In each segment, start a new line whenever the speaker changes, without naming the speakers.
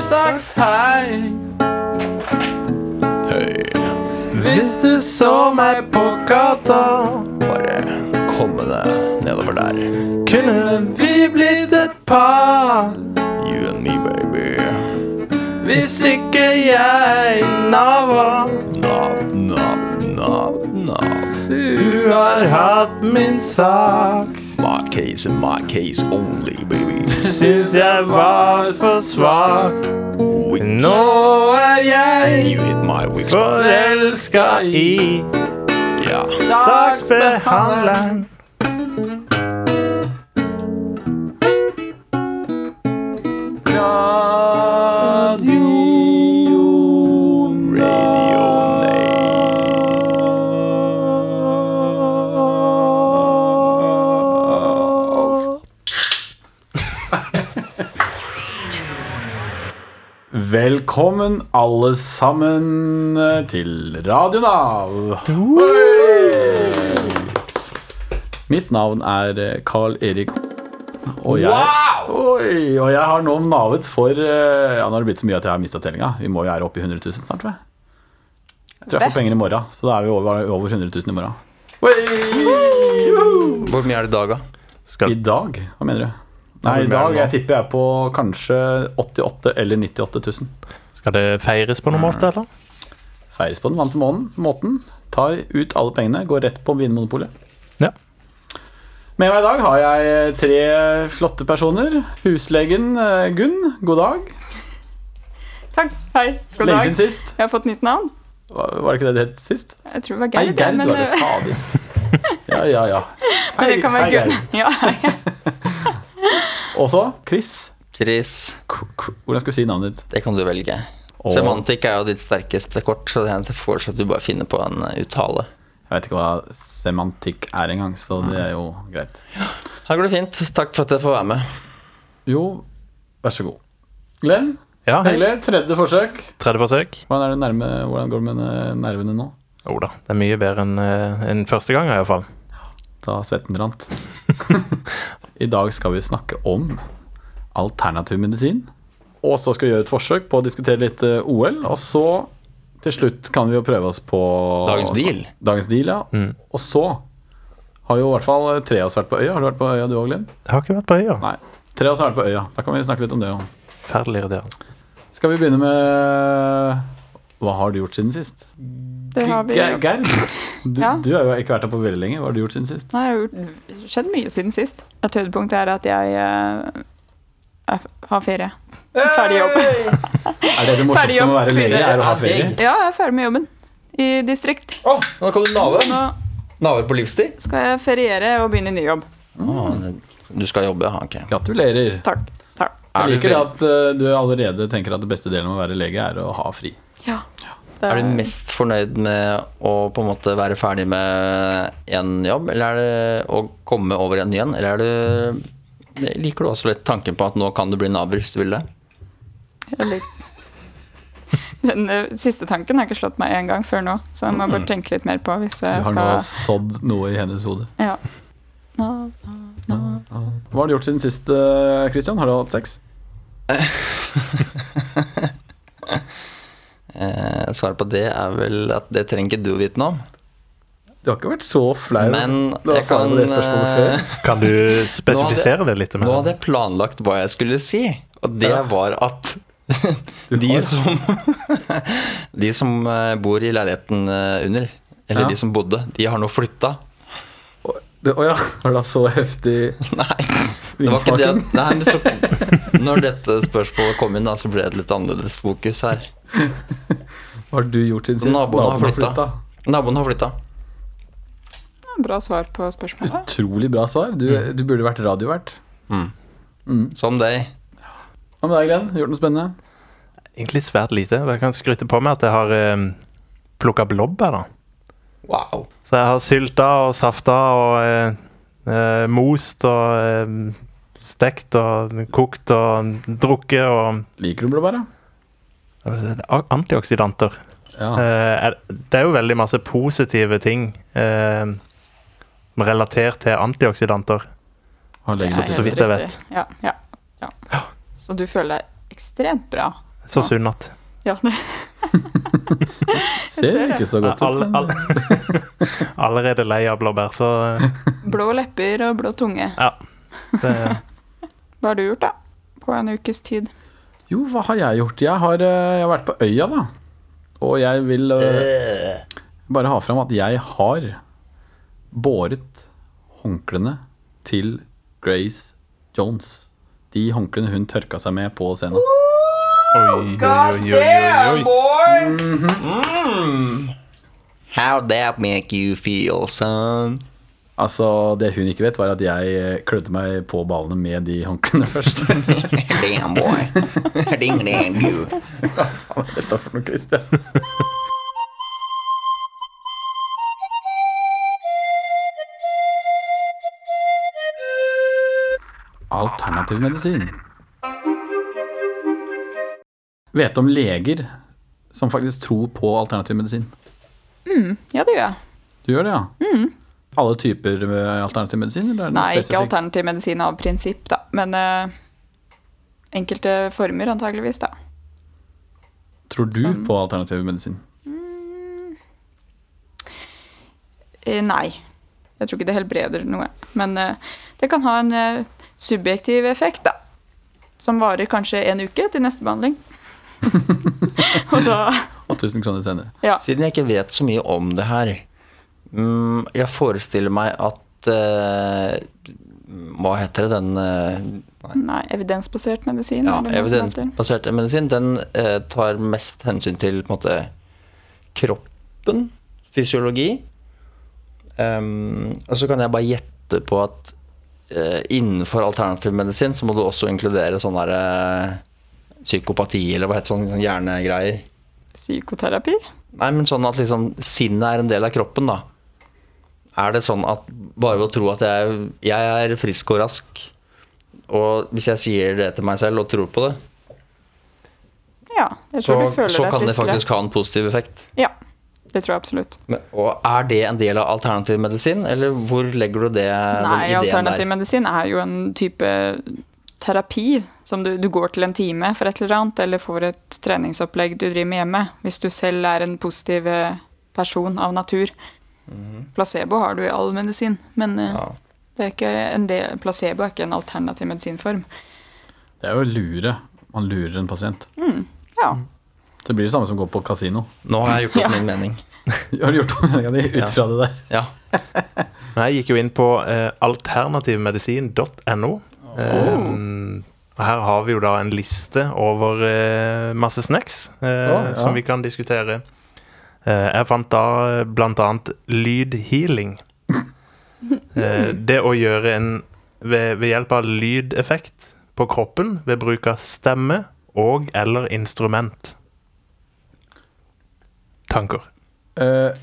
sagt hei. Hvis du så meg på gata,
Bare komme deg nedover der.
kunne vi blitt et par.
You and me, baby.
Hvis ikke jeg nava.
Nav, nav, nav, nav.
Du har hatt min sak.
My case and my case only, baby.
Syns jeg var så svak.
Weak.
Nå er
You
jeg
hit my weak spot.
forelska i
Yeah.
saksbehandleren. Radio
Velkommen alle sammen til Radio Nav. Mitt navn er eh, Carl Erik. Og jeg, Oi, og jeg har nå navet for eh, ja, Nå har det blitt så mye at jeg har mista tellinga. Vi må jo være oppe i 100 000 snart. tror Jeg Jeg tror jeg får penger i morgen, så da er vi over, over 100 000 i morgen.
Hvor mye er det i dag, da?
I dag? Hva mener du? Nei, i dag jeg tipper jeg er på kanskje 88 000 eller 98 000.
Skal det feires på noen måte, eller?
Feires på den vante månen, måten. Tar ut alle pengene, går rett på Vinmonopolet.
Ja.
Med meg i dag har jeg tre flotte personer. Huslegen eh, Gunn, god dag.
Takk. Hei. God
Lenge
dag.
siden sist.
Jeg har fått nytt navn.
Var var det ikke det det het sist?
Jeg tror det var
Nei,
Gerd,
Gerd
men, eh,
var det. Fader. Ja, ja, ja.
men det kan være Gunn. Ja, hei.
Og så Chris.
Chris,
K- k- Hvordan skal vi si navnet ditt?
det kan du velge.
Åh.
Semantikk er jo ditt sterkeste kort, så jeg foreslår at du bare finner på en eh, uttale.
Jeg vet ikke hva semantikk er engang, så det er jo greit.
Her går det fint. Takk for at jeg får være med.
Jo, vær så god. Glenn,
Ja, hei.
hyggelig. Tredje forsøk.
Tredje forsøk.
Hvordan, er det nærme, hvordan går det med eh, nervene nå?
Jo da, det er mye bedre enn eh, enn første gang, i hvert fall.
da svetten rant. I dag skal vi snakke om alternativ medisin. Og så skal vi gjøre et forsøk på å diskutere litt eh, OL. Og så til slutt kan vi jo prøve oss på
Dagens deal. Mm.
Dagens deal, ja. Og så har jo i hvert fall eh, tre av oss vært på øya. Har du vært på øya du òg, Linn?
Jeg har ikke vært på øya.
Nei. Tre av oss har vært på øya. Da kan vi snakke litt om det òg.
Forferdelig irriterende.
Skal vi begynne med Hva har du gjort siden sist?
Det har vi.
Ge-
Nei,
Gerd, du,
Ja.
du har jo ikke vært her på veldig lenge. Hva har du gjort siden sist?
det har jo skjedd mye siden sist. Et høydepunkt er at jeg eh, er- har ferie. Ferdig jobb.
Er det det
Ferdig
morsomste
jobb.
med å være lege? Er å ha
Ja, det-
ferie?
Ja, jeg er ferdig med jobben. I distrikt.
Å, nå kan du nave.
Nå
Naver på livstid.
skal jeg feriere og begynne i ny jobb.
du skal jobbe, ja. Ok.
Gratulerer.
Takk. Takk.
Jeg
Er du
liker det
vel-
at eh, du allerede tenker at det beste delen med å være lege er å ha fri.
Ja.
Er du mest fornøyd med å på en måte være ferdig med en jobb, eller er det å komme over en ny en? Eller er du Liker du også litt tanken på at nå kan du bli naver hvis du vil det?
Jeg lik- Den eh, siste tanken har ikke slått meg en gang før nå, så jeg må bare tenke litt mer på hvis
Du
jeg
har nå
skal
sådd noe i hennes hode.
Ja.
Hva har du gjort siden sist, eh, Christian? Har du hatt sex?
Eh, svaret på det er vel at det trenger ikke du å vite noe om.
Du har ikke vært så flau.
Men
du har
jeg
svart
kan
på det spørsmålet før.
eh,
Kan du spesifisere det litt?
Nå
Med
hadde jeg planlagt hva jeg skulle si, og det
Ja.
var at
Du
de
har-
som, de som eh, bor i leiligheten eh, under, eller
Ja.
de som bodde, de har nå flytta.
Det- Å ja, var det så heftig
Nei. Det var ikke det
vinsmaking?
at, nei, men så, når dette spørsmålet kom inn, da, så ble det et litt annerledes fokus her.
Hva har du gjort siden
Så
sist?
naboen har flytta. Naboen har flytta.
Bra svar på spørsmålet.
Utrolig bra svar. Du, du burde vært radiovert.
Som deg.
Hva med deg, Glenn? Gjort noe spennende?
Egentlig svært lite. men Jeg kan skryte på meg at jeg har eh, plukka blåbær, da.
Wow.
Så jeg har sylta og safta og eh, eh, most og eh, stekt og kokt og drukket og
Liker du blåbær, da?
Eh, Antioksidanter.
Ja.
Eh, er- Det er jo veldig masse positive ting eh, relatert til antioksidanter.
Har lenge
så-
Helt
så vidt jeg
riktig. Ja, ja, ja. Så du føler deg ekstremt bra
Så sunn at
Ja, det,
Ser
ser det.
ikke så godt ut.
alle, alle, Allerede lei av blåbær, så eh,
blå lepper og blå tunge.
ja. Det,
Hva har du gjort, da? På en ukes tid.
Jo, hva har jeg gjort? Jeg har, eh, jeg har vært på øya, da. Og jeg vil eh, bare ha fram at jeg har båret håndklærne til Grace Jones. De håndklærne hun tørka seg med på scenen.
oi, oi, oi, oi, oi.
How that make you feel, son?
Altså, Det hun ikke vet, var at jeg eh, klødde meg på ballene med de håndklærne først.
Damn, boy. Ding, dang, you.
Dette for noe, Christian. Alternativ medisin. Vet om leger som faktisk tror på alternativ medisin.
Ja, det gjør jeg.
Du gjør det, ja? Alle typer eh, alternativ medisin? Eller er det
Mm.
noe
Nei, ikke
spesifikt?
alternativ medisin av prinsipp, da. Men eh, enkelte former, antageligvis, da.
Tror du
sånn.
på alternativ medisin?
Eh, nei. Jeg tror ikke det helbreder noe. Men eh, det kan ha en eh, subjektiv effekt, da. Som varer kanskje en uke til neste behandling. Og da
8000 kroner senere.
Ja.
Siden jeg ikke vet så mye om det her mm, Jeg forestiller meg at eh, Hva heter det, den eh, nei,
Nei, evidensbasert medisin.
ja,
eller noe sånt heter.
Evidensbasert medisin den eh, tar mest hensyn til på en måte, kroppen, fysiologi. Ehm, og så kan jeg bare gjette på at eh, innenfor alternativ medisin så må du også inkludere sånn der eh, psykopati, eller hva heter sånn sånn hjernegreier.
Psykoterapi?
Nei, men sånn at liksom sinnet er en del av kroppen, da. Er det sånn at bare ved å tro at jeg, jeg er frisk og rask, og hvis jeg sier det til meg selv og tror på det,
Ja. Jeg
så,
tror du føler
så
deg
kan det
friskere.
faktisk ha en positiv effekt.
Ja. Det tror jeg absolutt.
Men, og er det en del av alternativ medisin, eller hvor legger du det,
Nei,
Eh, den ideen
alternativ
der?
medisin er jo en type terapi som du, du går til en time for et eller annet, eller får et treningsopplegg du driver med hjemme, hvis du selv er en positiv eh, person av natur. Placebo har du i all medisin, men eh,
Mhm. Ja.
det er ikke en del, placebo er ikke en alternativ medisinform.
Det er jo å lure. Man lurer en pasient.
Ja,
Mhm.
Det blir det samme som å gå på kasino.
Nå har jeg gjort opp min mening.
Har du gjort opp meninga di ut fra det der?
Ja.
Men jeg gikk jo inn på eh, alternativmedisin.no.
Oh.
Eh, og her har vi jo da en liste over eh, masse snacks eh,
Å, ja.
som vi kan diskutere. Eh, jeg fant da eh, blant annet lydhealing. Eh, det å gjøre en ved, ved hjelp av lydeffekt på kroppen ved bruk av stemme og eller instrument. Tanker.
Eh,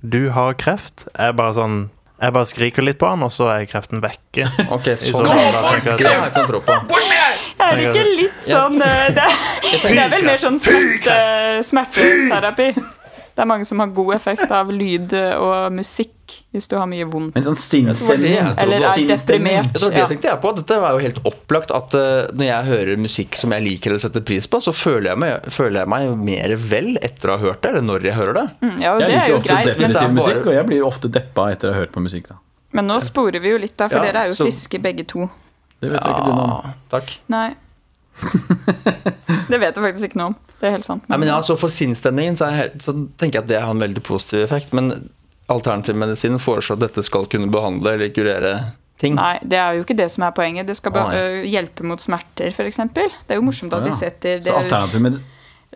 Du har kreft. Jeg bare sånn Jeg bare skriker litt på han, og så er kreften vekke.
Ok,
I
så
så fall, da tenker jeg
Greit, jeg tror på.
er det ikke litt sånn eh, Det er, det er vel mer sånn smerte, smerteterapi. Det er mange som har god effekt av lyd eh, og musikk hvis du har mye vondt.
Men sånn sinnsstemning
Jeg trodde-
Eller er deprimert.
Jeg tror det
ja.
tenkte jeg på. Dette var jo helt opplagt at eh, når jeg hører musikk som jeg liker eller setter pris på, så føler jeg meg, føler jeg meg mer vel etter å ha hørt det, eller når jeg hører det.
Mm, Ja, og
Jeg
det er
liker
jo
ofte
greit, men,
det er
depressiv
bare-
musikk, og jeg blir ofte deppa etter å ha hørt på musikk. da
men nå sporer vi jo litt, da, for
Ja,
dere er jo
så-
friske begge to.
Det vet jo ikke du noe om.
Ja, Ah, takk.
Nei. det vet jeg faktisk ikke noe om. Det er helt sant.
Nei, men ja, så For sinnsstemningen så, er jeg helt- så tenker jeg at det har en veldig positiv effekt. Men alternativmedisinen foreslår at dette skal kunne behandle eller kurere ting.
Nei, det er jo ikke det som er poenget. Det skal bare
Nei.
øh, hjelpe mot smerter, f.eks. Det er jo morsomt at
Ja.
de setter
Så
det,
alternativ med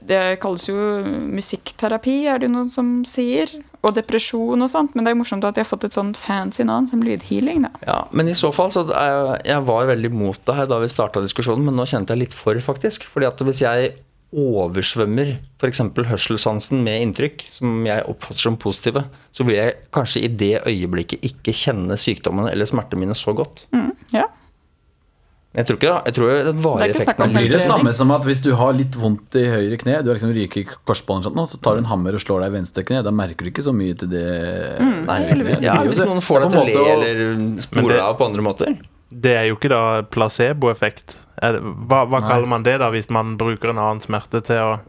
det kalles jo musikkterapi, er det jo noen som sier. Og depresjon og sånt. Men det er jo morsomt at de har fått et sånt fancy navn som lydhealing, da.
Ja, men i så fall så er jeg, jeg var veldig mot det her da vi starta diskusjonen, men nå kjente jeg litt for, faktisk. Fordi at hvis jeg oversvømmer f.eks. hørselssansen med inntrykk som jeg oppfatter som positive, så vil jeg kanskje i det øyeblikket ikke kjenne sykdommen eller smertene mine så godt.
Ja.
Jeg tror ikke da, jeg tror den varige
Det er ikke snakk
effekten
om
av
blir det
Alternativ.
samme som at hvis du har litt vondt i høyre kne, du er liksom ryker i korsbånd, og sånt nå, så tar du en hammer og slår deg i venstre kne. Da merker du ikke så mye til det.
Mm, Nei,
høyre kne. Det
ja,
blir jo
Hvis
det.
noen får
Det
deg
er
til å le
på en måte å-
eller
Men
spore
det-
av på andre måter.
Det er jo ikke da placeboeffekt. Er det- Hva, hva
Nei.
kaller man det da hvis man bruker en annen smerte til å,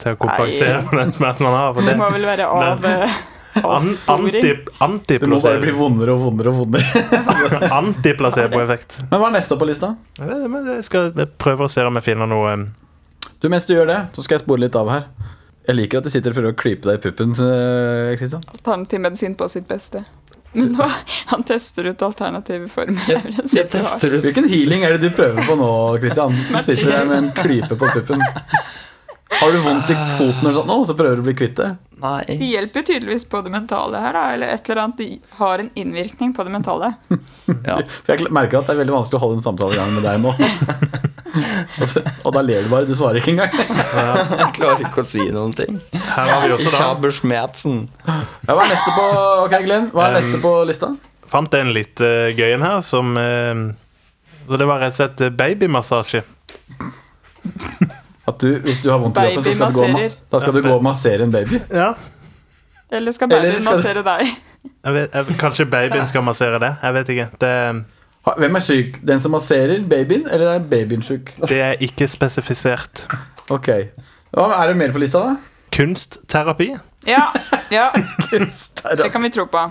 til å kompensere for den smerten man har? For
Det
det,
må vel være av
Nei.
eh,
an, anti,
avsporing.
Det må bare bli
antiplacebo-
vondere og vondere og vondere.
antiplaceboeffekt.
Men hva er neste på lista?
Jeg, jeg skal prøve å se om jeg finner noe um,
Du, mens du gjør det, så skal jeg spore litt av her. Jeg liker at du sitter og prøver å klype deg i puppen, eh, Christian.
Alternativ medisin på sitt beste. Men nå, han tester ut alternative former.
Jeg tester ut
Hvilken healing er det du prøver på nå, Christian? Som sitter der med en klype på puppen. Har du vondt i foten eller sånt nå, så prøver du å bli kvitt det?
Det
Nei.
hjelper tydeligvis på det mentale her, da. Eller et eller annet det har en innvirkning på det mentale.
Ja.
For jeg merker at det er veldig vanskelig å holde en samtale i gang med deg nå. Og så- og da ler du bare. Du svarer ikke engang.
Jeg klarer ikke å si noen ting.
Her har vi også da
Kjaber Schmerzen.
Ja, hva er neste på Ok, Glenn, hva er neste på lista?
Fant en litt eh, gøy en her som eh, Så det var rett og slett eh, babymassasje.
At du, hvis du har vondt i kroppen, så skal du, gå og, ma-
Babymasserer.
da skal du gå og massere en baby.
Ja.
Eller skal
Eller
babyen
skal-
massere deg?
Jeg vet, jeg, kanskje babyen skal massere det? Jeg vet ikke. Det,
Ha- Hvem er syk? Den som masserer babyen, eller er babyen syk?
det er ikke spesifisert.
Ok. Hva er det mer på lista, da?
Kunstterapi?
Ja, ja, det
Kunstterapi.
kan vi tro på.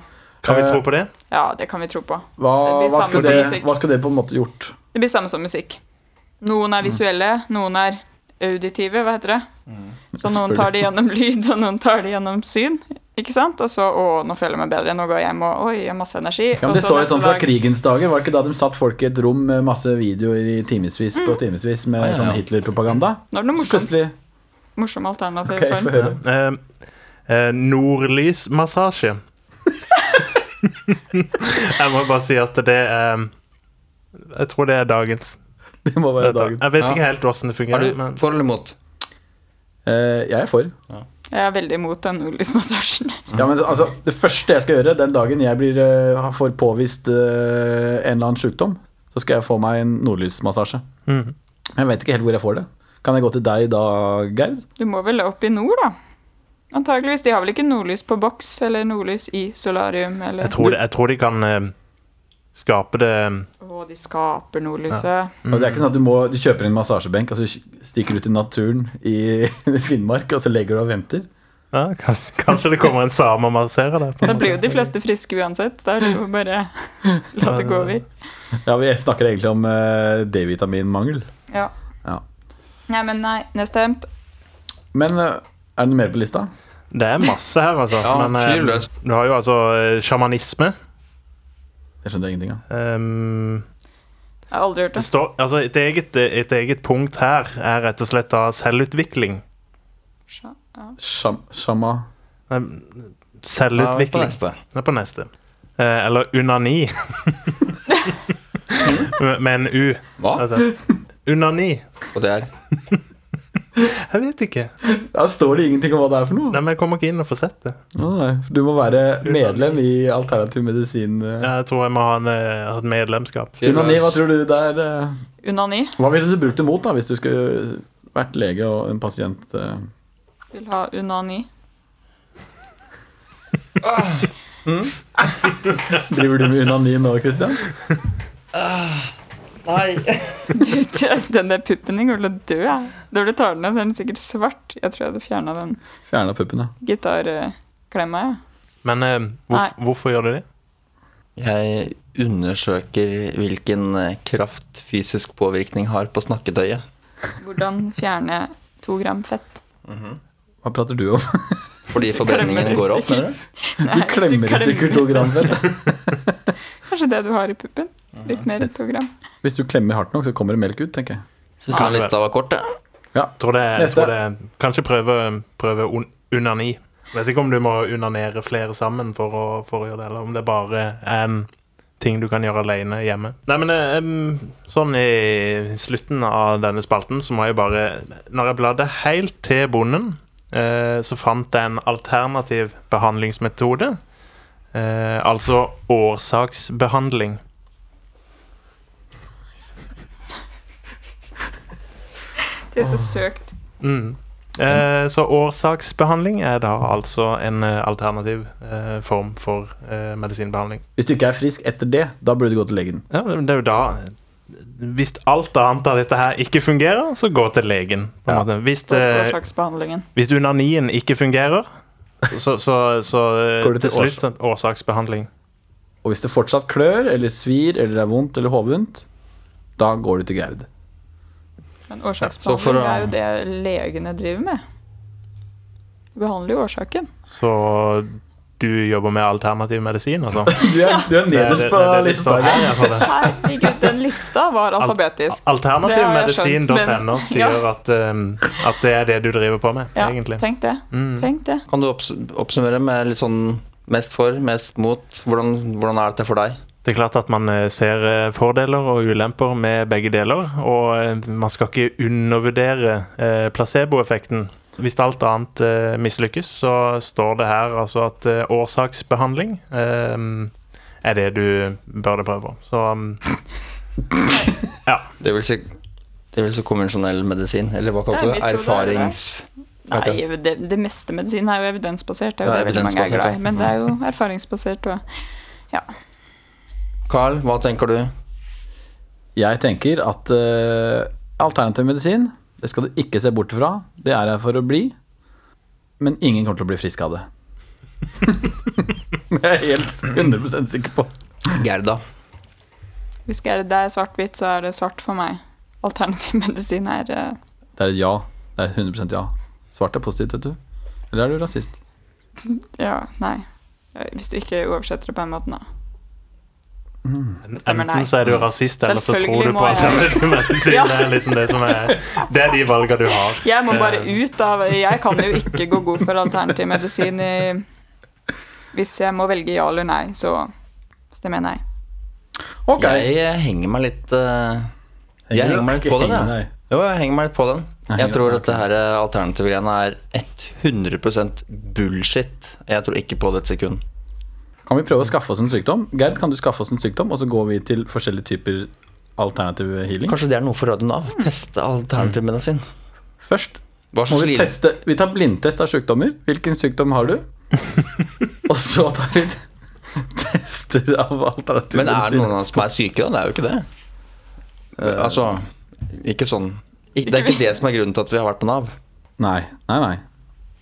Kan vi
Eh,
tro på det?
Ja, det kan vi tro på.
Hva,
Det blir
hva,
samme
skal
som
det,
musikk.
hva skal det på en måte gjort?
Det blir samme som musikk. Noen
Mm.
er visuelle, noen er auditive, hva heter det?
Mm.
Så noen tar det gjennom lyd, og noen tar det gjennom syn. Ikke sant? Og så 'Å, nå føler jeg meg bedre. Nå går jeg hjem og Oi, jeg har masse energi.'
Ja, men
og
det så jeg
neste
sånn fra
dag-
krigens dager. Var det ikke da de satt folk i et rom med masse videoer i timevis på timevis med
Ja, ja, ja.
sånn Hitler-propaganda?
Nå er det noe
Så
morsomt,
plutselig
morsom alternativ
Ok, få
form.
høre.
Eh, eh, nordlysmassasje. jeg må bare si at det er Jeg tror det er dagens.
Det må være dagen.
Jeg vet
Ja.
ikke helt åssen det
Er
fungerer.
du
Men
for eller imot?
Eh, jeg er for.
Jeg er veldig imot den nordlysmassasjen.
Ja, men altså, Det første jeg skal gjøre den dagen jeg blir, eh, får påvist eh, en eller annen sykdom, så skal jeg få meg en nordlysmassasje.
Mm.
Mhm.
Men Jeg vet ikke helt hvor jeg får det. Kan jeg gå til deg da, Gerd?
Du må vel opp i nord, da? Antageligvis. De har vel ikke nordlys på boks, eller nordlys i solarium, eller
jeg tror, det, jeg tror de kan eh, skape det
Å, de skaper nordlyset.
Og det er ikke
Mm.
sånn at du, må, du kjøper en massasjebenk og så stikker du ut i naturen i Finnmark og så legger du og venter.
ja, kan- Kanskje det kommer en same og masserer det. på en
Da
måte.
blir jo de fleste friske uansett. Da er det jo bare la det gå over.
Ja, Vi snakker egentlig om eh, D-vitaminmangel.
Ja.
Ja.
Nei, men nei. Nedstemt.
Men eh, er det noe mer på lista?
Det er masse her, altså.
Ja,
eh,
fyr løs.
du har jo altså eh, sjamanisme.
Jeg skjønner ingenting av.
Ehm,
Jeg har aldri hørt
det
det.
står, altså et, eget, et eget punkt her er rett og slett da selvutvikling.
Sja- ja.
Sham, shama
Ehm,
Ja, vi er på
Selvutvikling.
neste.
Det er på neste. Eh, eller unani. Med- Med en U.
Hva?
Altså, unani.
Og det er
Jeg vet ikke.
Ja, Står det ingenting om hva det er for noe?
Nei, men Jeg kommer ikke inn og får sett det.
Å, nei. Du må være medlem i alternativ medisin. eh.
Jeg tror jeg må ha en, eh, ha et medlemskap.
fyr
Unani, hva
løs.
tror du der eh,
Unani.
Hva ville du brukt det mot da, hvis du skulle vært lege og en pasient? eh?
Vil ha unani.
Driver du med unani nå, Christian?
Du, du, den der puppen din går til å dø. jeg. Når du tar den av, så er den sikkert svart. Jeg tror jeg hadde fjerna den
Fjerna puppen, ja.
gitarklemma. jeg.
Men eh, hvorf, hvorfor gjør du det?
Jeg undersøker hvilken eh, kraft fysisk påvirkning har på snakketøyet.
Hvordan fjerne to gram fett?
Hva prater du om?
Fordi forbrenningen går opp, mener du?
Nei,
Du
hvis
klemmer i stykker to gram vel?
Kanskje det du har i puppen? Litt mer enn to gram.
Hvis du klemmer hardt nok, så kommer det melk ut, tenker jeg.
Syns den lista var kort, jeg.
Jeg tror det, er- jeg
Neste.
tror det er- Kanskje prøve, prøve un unani. Jeg vet ikke om du må unanere flere sammen for å, for å gjøre det, eller om det bare er en ting du kan gjøre alene hjemme. Nei, men eh, em, sånn i slutten av denne spalten, så må jeg bare Når jeg bladde helt til bonden, eh, så fant jeg en alternativ behandlingsmetode. Eh, altså årsaksbehandling.
Det er så søkt.
Mm. Eh, så årsaksbehandling er da altså en eh, alternativ eh, form for eh, medisinbehandling.
Hvis du ikke er frisk etter det, da burde du gå til legen.
Ja, men det er jo da eh, Hvis alt annet av dette her ikke fungerer, så gå til legen. På en
Ja.
måte. Hvis,
for
eh,
årsaksbehandlingen.
hvis unanien ikke fungerer, så, så, så eh,
Går det til
til slutt sånn, årsaksbehandling.
Og hvis det fortsatt klør, eller svir, eller er vondt eller hovent, da går du til Gerd.
Men
så for
årsaksbehandling
å-
er jo det legene driver med. De behandler jo årsaken.
Så du jobber med alternativ medisin, altså?
Du er, du
Det-
er
det-
nederst
det-
på
det- det
lista.
står her, jeg får det.
Herregud, den lista var alfabetisk. Det har jeg skjønt,
Alternativmedisin.no
men-
sier at, eh, at det er det du driver på med,
Ja,
egentlig.
tenk det.
Mm.
Tenk det.
Kan du obs- oppsummere med litt sånn mest for, mest mot? Hvordan, hvordan er dette for deg?
Det er klart at man eh, ser eh, fordeler og ulemper med begge deler, og eh, man skal ikke undervurdere eh, placeboeffekten. Hvis alt annet eh, mislykkes, så står det her altså at eh, årsaksbehandling eh, er det du burde prøve. Så um,
Det vil si, det vil si konvensjonell medisin, eller hva kaller du
Nei,
det?
vi tror det er det.
Erfarings...
Nei, det, det meste medisin er jo evidensbasert. Det er jo
Ja,
det veldig mange er glad
evidensbasert, ja.
i. Men det er jo erfaringsbasert òg.
Carl, hva tenker du?
Jeg tenker at eh, alternativ medisin, det skal du ikke se bort fra. Det er her for å bli. Men ingen kommer til å bli frisk av det. det er jeg helt 100 sikker på.
Gerda.
Hvis det er- det er svart-hvitt, så er det svart for meg. Alternativ medisin er eh,
Det er et ja. Det er 100 ja. Svart er positivt, vet du. Eller er du rasist?
Ja, nei. Hvis du ikke oversetter det på den måten, da. Stemmer, nei.
enten så er du rasist, eller så
Selvfølgelig
tror du på
må jeg-
alternativ medisin.
Ja.
Det er liksom det som er Det er de valgene du har.
Jeg må bare
Eh,
ut av Jeg kan jo ikke gå god for alternativ medisin i Hvis jeg må velge ja eller nei, så stemmer jeg nei.
Ok.
Jeg eh, henger meg litt eh, Jeg henger meg litt på den, jeg.
jeg.
Jo, jeg henger meg litt på den.
Nei,
Jeg
ja,
tror
ok.
dette her eh, alternativgreiene er 100 bullshit. Jeg tror ikke på det et sekund.
Kan vi prøve å skaffe oss en sykdom? Gerd, kan du skaffe oss en sykdom, og så går vi til forskjellige typer alternativ healing?
Kanskje det er noe for Radio Nav? Teste alternativ medisin.
Først
Mm. Hva
må
slags
vi
lidelse
teste Vi tar blindtest av sykdommer. Hvilken sykdom har du? og så tar vi tester av alternativ
Men er det
medisin. Eh.
noen av oss som er syke, da? Det er jo ikke det. Det- Altså, ikke sånn Ik- Det er ikke det som er grunnen til at vi har vært på Nav.
Nei, nei, nei.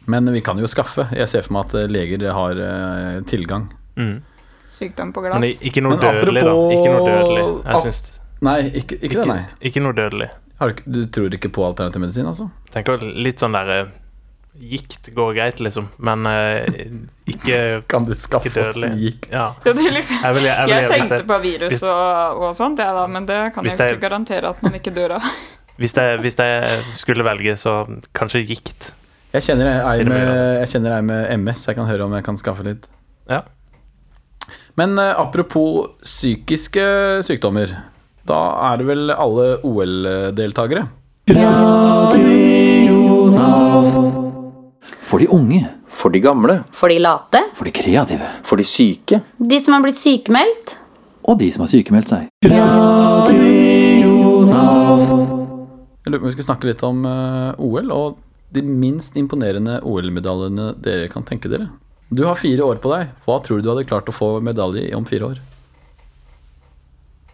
Men vi kan jo skaffe. Jeg ser for meg at eh, leger har eh, tilgang.
Mm.
Sykdom på
Men
glass.
ikke noe
Men
dødelig, da. Ikke noe dødelig.
apropos-
Jeg syns
Nei, ikke, ikke det,
ikke,
nei.
ikke noe dødelig.
Har du, ikke- du tror ikke på alternativ medisin, altså?
tenker litt sånn der eh, Gikt går greit, liksom, men eh, ikke,
Kan du
ikke
skaffe oss
dødelig.
gikt?
Ja.
Ja, det er liksom,
Jeg vil, jeg vil,
jeg
hvis,
tenkte
det,
på virus
hvis-
og, og sånt, ja, da, men det kan jeg
Hvis
jo ikke
det-
garantere at man ikke dør av.
hvis, det, hvis jeg skulle velge, så kanskje gikt.
Jeg kjenner ei
Sier det
med,
bra.
jeg kjenner ei med MS. Jeg kan høre om jeg kan skaffe litt.
Ja.
Men eh, apropos psykiske sykdommer. Da er det vel alle OL-deltakere.
For de unge,
For de gamle,
for de late,
for de kreative, for de syke.
de som har blitt sykemeldt.
Og de som har sykemeldt seg.
Jeg lurer på om vi skulle snakke litt om eh, OL og de minst imponerende OL-medaljene dere kan tenke dere. Du har fire år på deg. Hva tror du du hadde klart å få medalje i om fire år?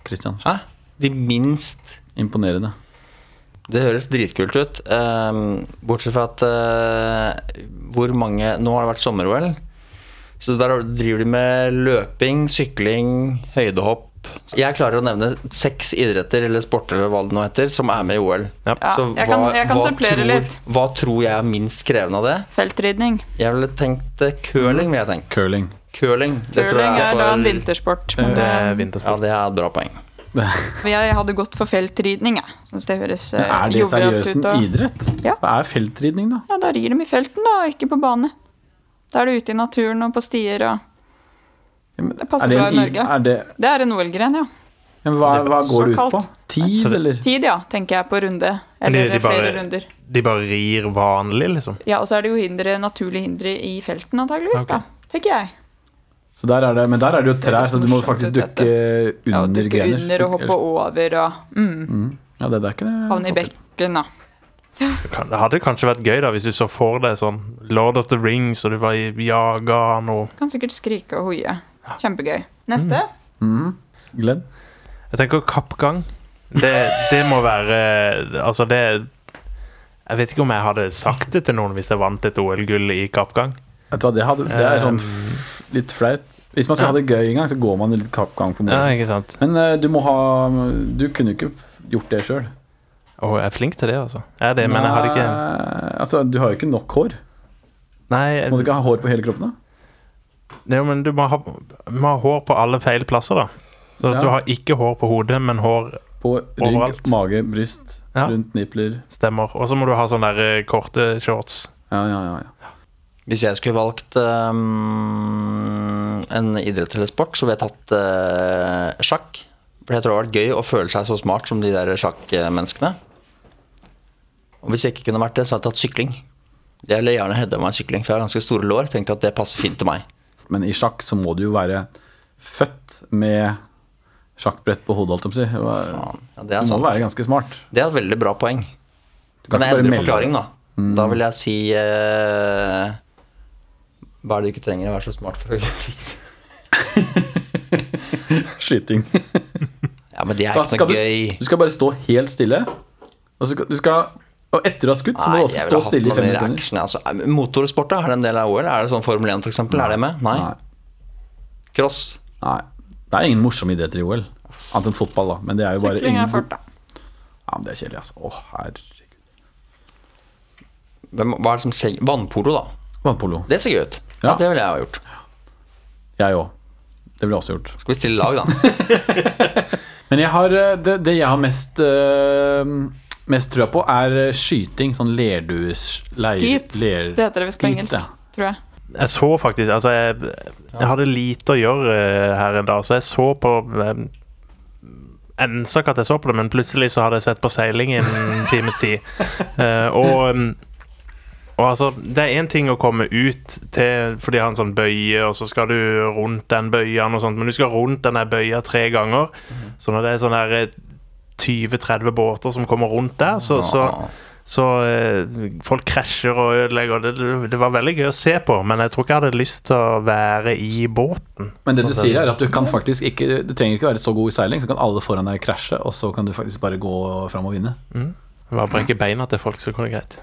Christian.
Hæ? De minst
Imponerende.
Det høres dritkult ut. ehm, bortsett fra at eh, hvor mange Nå har det vært sommer-OL. Så der driver de med løping, sykling, høydehopp. Jeg klarer å nevne seks idretter eller sporter eller hva det nå heter, som er med i OL.
Ja.
Ja,
Så
jeg kan, jeg kan supplere
tror,
litt.
hva tror jeg er minst krevende av det?
Feltridning.
Jeg ville tenkt eh, curling. ville jeg tenkt.
Curling.
Curling, det tror
Curling
jeg
er
er
da en
for
vintersport. Men
Det
det,
er
Ja,
vintersport.
det er et bra poeng.
jeg hadde gått for feltridning, jeg. Syns det høres eh,
Er det
jovialt
seriøst
ut.
en
Og,
idrett?
Ja.
Hva er feltridning, da?
ja, da rir de i felten, da, og ikke på bane. Da er du ute i naturen og på stier og
Ja, men
Det passer
er
bra
en
i Norge.
Er det,
Det er en OL-gren, ja.
ja, men hva, hva går det ut på?
Såkalt.
Tid,
Så det-
eller?
Tid, ja, tenker jeg på runde. Eller
de bare-
flere runder.
De bare rir vanlig, liksom.
Ja, og så er det jo hindre, naturlige hindre i felten, antageligvis, da. Tenker jeg.
Så der er det, men der er det jo trær,
Høres
så du må
morsomt
faktisk
ut,
dukke eh,
Ja,
under
og dukke
grener.
under og hoppe over og mm,
Ja, det, det er ikke det.
havne i
jeg får til.
bekken, da.
Det kan- Det hadde kanskje vært gøy da hvis du så for deg sånn Lord of the Rings, og du var i- jaga noe
Kan sikkert skrike og hoie. Kjempegøy. Neste.
Mm. Glenn?
Jeg tenker kappgang. Det, det må være Altså, det Jeg vet ikke om jeg hadde sagt det til noen hvis jeg vant et OL-gull i kappgang.
Vet du hva, det, hadde, det er sånn f- litt flaut. Hvis man skal ha det gøy en gang, så går man en litt kappgang på
Ja,
morgenen.
ikke sant?
Men eh, du må ha Du kunne ikke gjort det sjøl.
Og jeg er flink til det, altså. Jeg er det, men jeg hadde ikke
Altså, du har jo ikke nok hår.
Nei, jeg,
Må du ikke ha hår på hele kroppen, da?
jo, men du må ha, må ha hår på alle feil plasser, da. Så at
Ja.
du har ikke hår på hodet, men hår
På rygg,
Overalt.
mage, bryst,
Ja.
rundt nipler.
stemmer. Og så må du ha sånne der eh, korte shorts.
Ja, ja, ja. ja.
Hvis jeg skulle valgt ehm, en idrett eller sport, så ville jeg tatt eh, sjakk. For jeg tror det hadde vært gøy å føle seg så smart som de der sjakkmenneskene. Og hvis jeg ikke kunne vært det, så hadde jeg tatt sykling. Jeg ville gjerne hedda meg i sykling, for jeg har ganske store lår. Tenkte at det passer fint til meg.
Men i sjakk så må du jo være født med sjakkbrett på hodet, holdt jeg på å si. Det var-
Faen. Ja, det
Du
er
må
sant.
være ganske smart.
Det er et veldig bra poeng.
Mm. kan
Kan
ikke
jeg
bare
endre
melde Mm.
forklaring,
deg.
da? Da vil jeg si eh, Hva er det du ikke trenger å være så smart for å fikse?
Skyting.
Ja, men det er
Da
ikke
skal
noe
du,
gøy.
du skal bare stå helt stille. Og, så, skal- du skal, og etter du har skutt, så må du også
jeg ville
stå
hatt
stille i
noe
fem
mer
sekunder.
action, Altså, Er- motorsport, da? Er det en del av OL? Er det sånn Formel 1, for eksempel? Er det med? Nei.
Nei.
Cross?
Nei. Det er ingen morsomme idretter i OL. Annet enn fotball, da. Men det er jo bare
Sykling
ingen
er
god-
fart, da.
Ja, men det er kjedelig, altså. Å, herregud.
Hvem, hva er det som ser Vannpolo, da.
Vannpolo.
Det ser gøy ut. Ja.
Ja.
Det ville jeg ha gjort.
Jeg òg. Det ville jeg også gjort.
Skal vi stille lag, da?
Men jeg har, eh, det, det jeg har mest, eh, mest trua på, er eh, skyting. Sånn lerdues... Leir,
Skeet.
Ler,
Det heter det visst på
skeet,
engelsk,
ja.
tror jeg.
Jeg så faktisk Altså, jeg, jeg hadde lite å gjøre eh, her en dag, så jeg så på eh, Jeg sa ikke at jeg så på det, men plutselig så hadde jeg sett på seiling i en times tid. Eh, og mm, og altså, Det er én ting å komme ut til For de har en sånn bøye, og så skal du rundt den bøya, og sånt, men du skal rundt den der bøya tre ganger. Så når det er sånn der eh, 20-30 båter som kommer rundt der, så, så så eh, folk krasjer og ødelegger. Det, det var veldig gøy å se på, men jeg tror ikke jeg hadde lyst til å være i båten.
Men det du sier, er at du kan faktisk ikke Du trenger ikke være så god i seiling, så kan alle foran deg krasje, og så kan du faktisk bare gå fram og vinne.
Bare brekke beina til folk, så går det greit.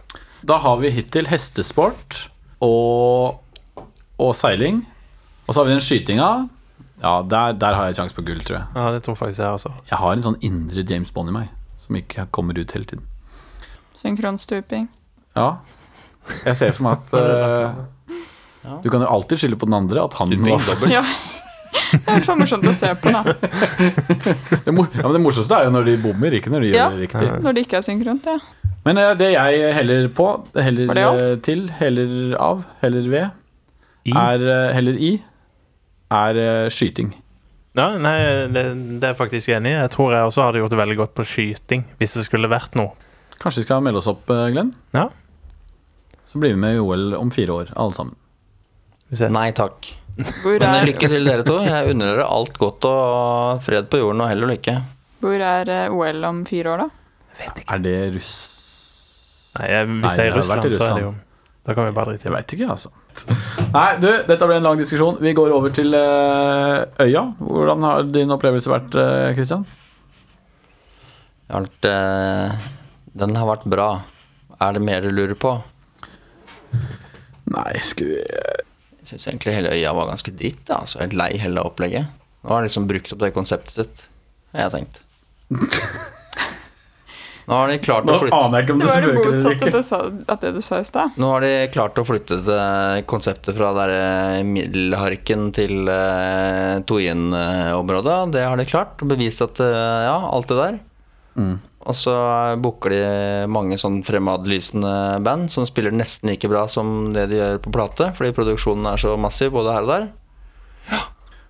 Da har vi hittil hestesport og, og seiling. Og så har vi den skytinga. Ja, der, der har jeg sjanse på gull, tror jeg.
Ja, det tror faktisk jeg også.
Jeg har en sånn indre James Bond i meg, som ikke kommer ut hele tiden.
Synkronstuping.
Ja. Jeg ser for meg at eh, Du kan jo alltid skylde på den andre. At han
Stuping
var,
dobbelt.
Ja. Det er i hvert fall morsomt å se på, da.
det, mor ja, men det morsomste er jo når de bommer, ikke når de
Ja.
gjør det riktig.
Når det ikke er synkront, ja.
Men eh, det jeg heller på, heller
Var det alt?
eh, til, heller av, heller ved,
I?
er eh, heller i, er eh, skyting.
Ja, nei, det, det er jeg faktisk enig i. Jeg tror jeg også hadde gjort det veldig godt på skyting, hvis det skulle vært noe.
Kanskje vi skal melde oss opp, eh, Glenn?
Ja.
Så blir vi med i OL om fire år, alle sammen.
Hvis jeg,
Nei takk.
Hvor
Men eh,
er,
lykke til, dere to. Jeg unner dere alt godt og fred på jorden, og hell og lykke.
hvor er eh, OL om fire år, da?
Er det russ...?
nei, jeg, hvis
Nei,
det er
jeg
i
har vært i
Russland, så er det jo
Russland.
Da kan vi bare drite i det.
Jeg veit ikke, altså. Nei, du, dette ble en lang diskusjon. Vi går over til eh, øya. Hvordan har din opplevelse vært, eh, Christian?
Jeg har vært, eh, den har vært bra. Er det mer du lurer på?
Nei, skulle vi
Jeg syns egentlig hele øya var ganske dritt. Ja. Altså, helt lei hele opplegget. Nå har de liksom brukt opp det konseptet sitt, har jeg tenkt. Nå har de klart
Nå
å flytte
aner jeg ikke om
Det
du
var det
spøker eller
motsatte
ikke.
du sa, at det du sa i stad.
Nå har de klart å flytte det konseptet fra der eh, Middelharken til eh, Toyen-området. Det har de klart. og Bevist at eh, ja, alt det der.
Mm.
Og så booker de mange sånn fremadlysende band som spiller nesten like bra som det de gjør på plate, fordi produksjonen er så massiv både her og der.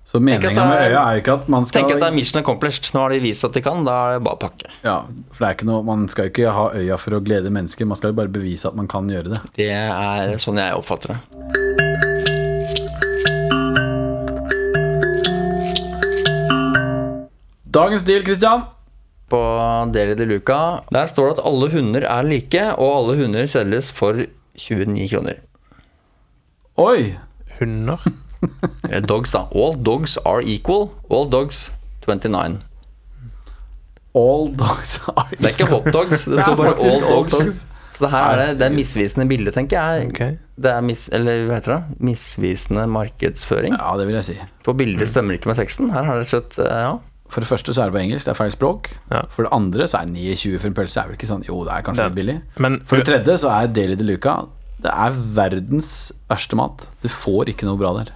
Så meninga
at
med
det er-
øya er jo ikke at man skal
Tenk at det er mission accomplished. Nå har de vist at de kan, da er det bare å pakke.
Ja, for det er ikke noe, Man skal ikke ha øya for å glede mennesker, man skal jo bare bevise at man kan gjøre det.
Det er sånn jeg oppfatter det.
Dagens deal, Christian.
på Deli de Luca. Der står det at alle hunder er like, og alle hunder selges for 29 kroner.
Oi!
Hunder?
Eller dogs, da. All dogs are equal. All dogs 29.
All dogs are
Det er ikke hot dogs, det
Det er
står bare
faktisk
all
all
dogs.
dogs.
Så det her er det, det er misvisende bilde, tenker jeg.
Ok.
Det er mis, eller hva heter det? Misvisende markedsføring.
Ja, Mm. det vil jeg si.
For bildet stemmer ikke med teksten. Her har det slett eh, ja.
For det første så er det på engelsk, det er feil språk.
Ja.
For det andre så er 29 for en pølse er vel ikke sånn Jo, det er kanskje
Det-
litt billig.
Men
For det tredje så er Daily de Luca Det er verdens verste mat. Du får ikke noe bra der.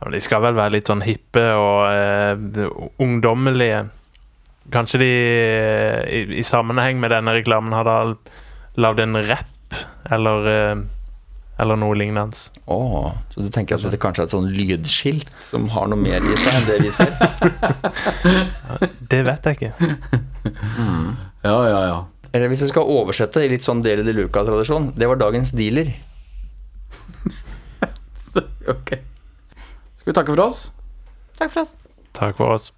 Ja, men de skal vel være litt sånn hippe og eh, ungdommelige. Kanskje de eh, i, i sammenheng med denne reklamen hadde lagd en rapp eller, eh, eller noe lignende.
Åh, så du tenker at dette kanskje er et sånn lydskilt som har noe mer i seg enn det vi ser?
Det vet jeg ikke.
Ja, ja, ja.
Eller hvis du skal oversette i litt sånn Deli de Luca-tradisjon, det var dagens dealer.
Ok. Skal vi takke for oss?
Takk for oss.
Takk for oss.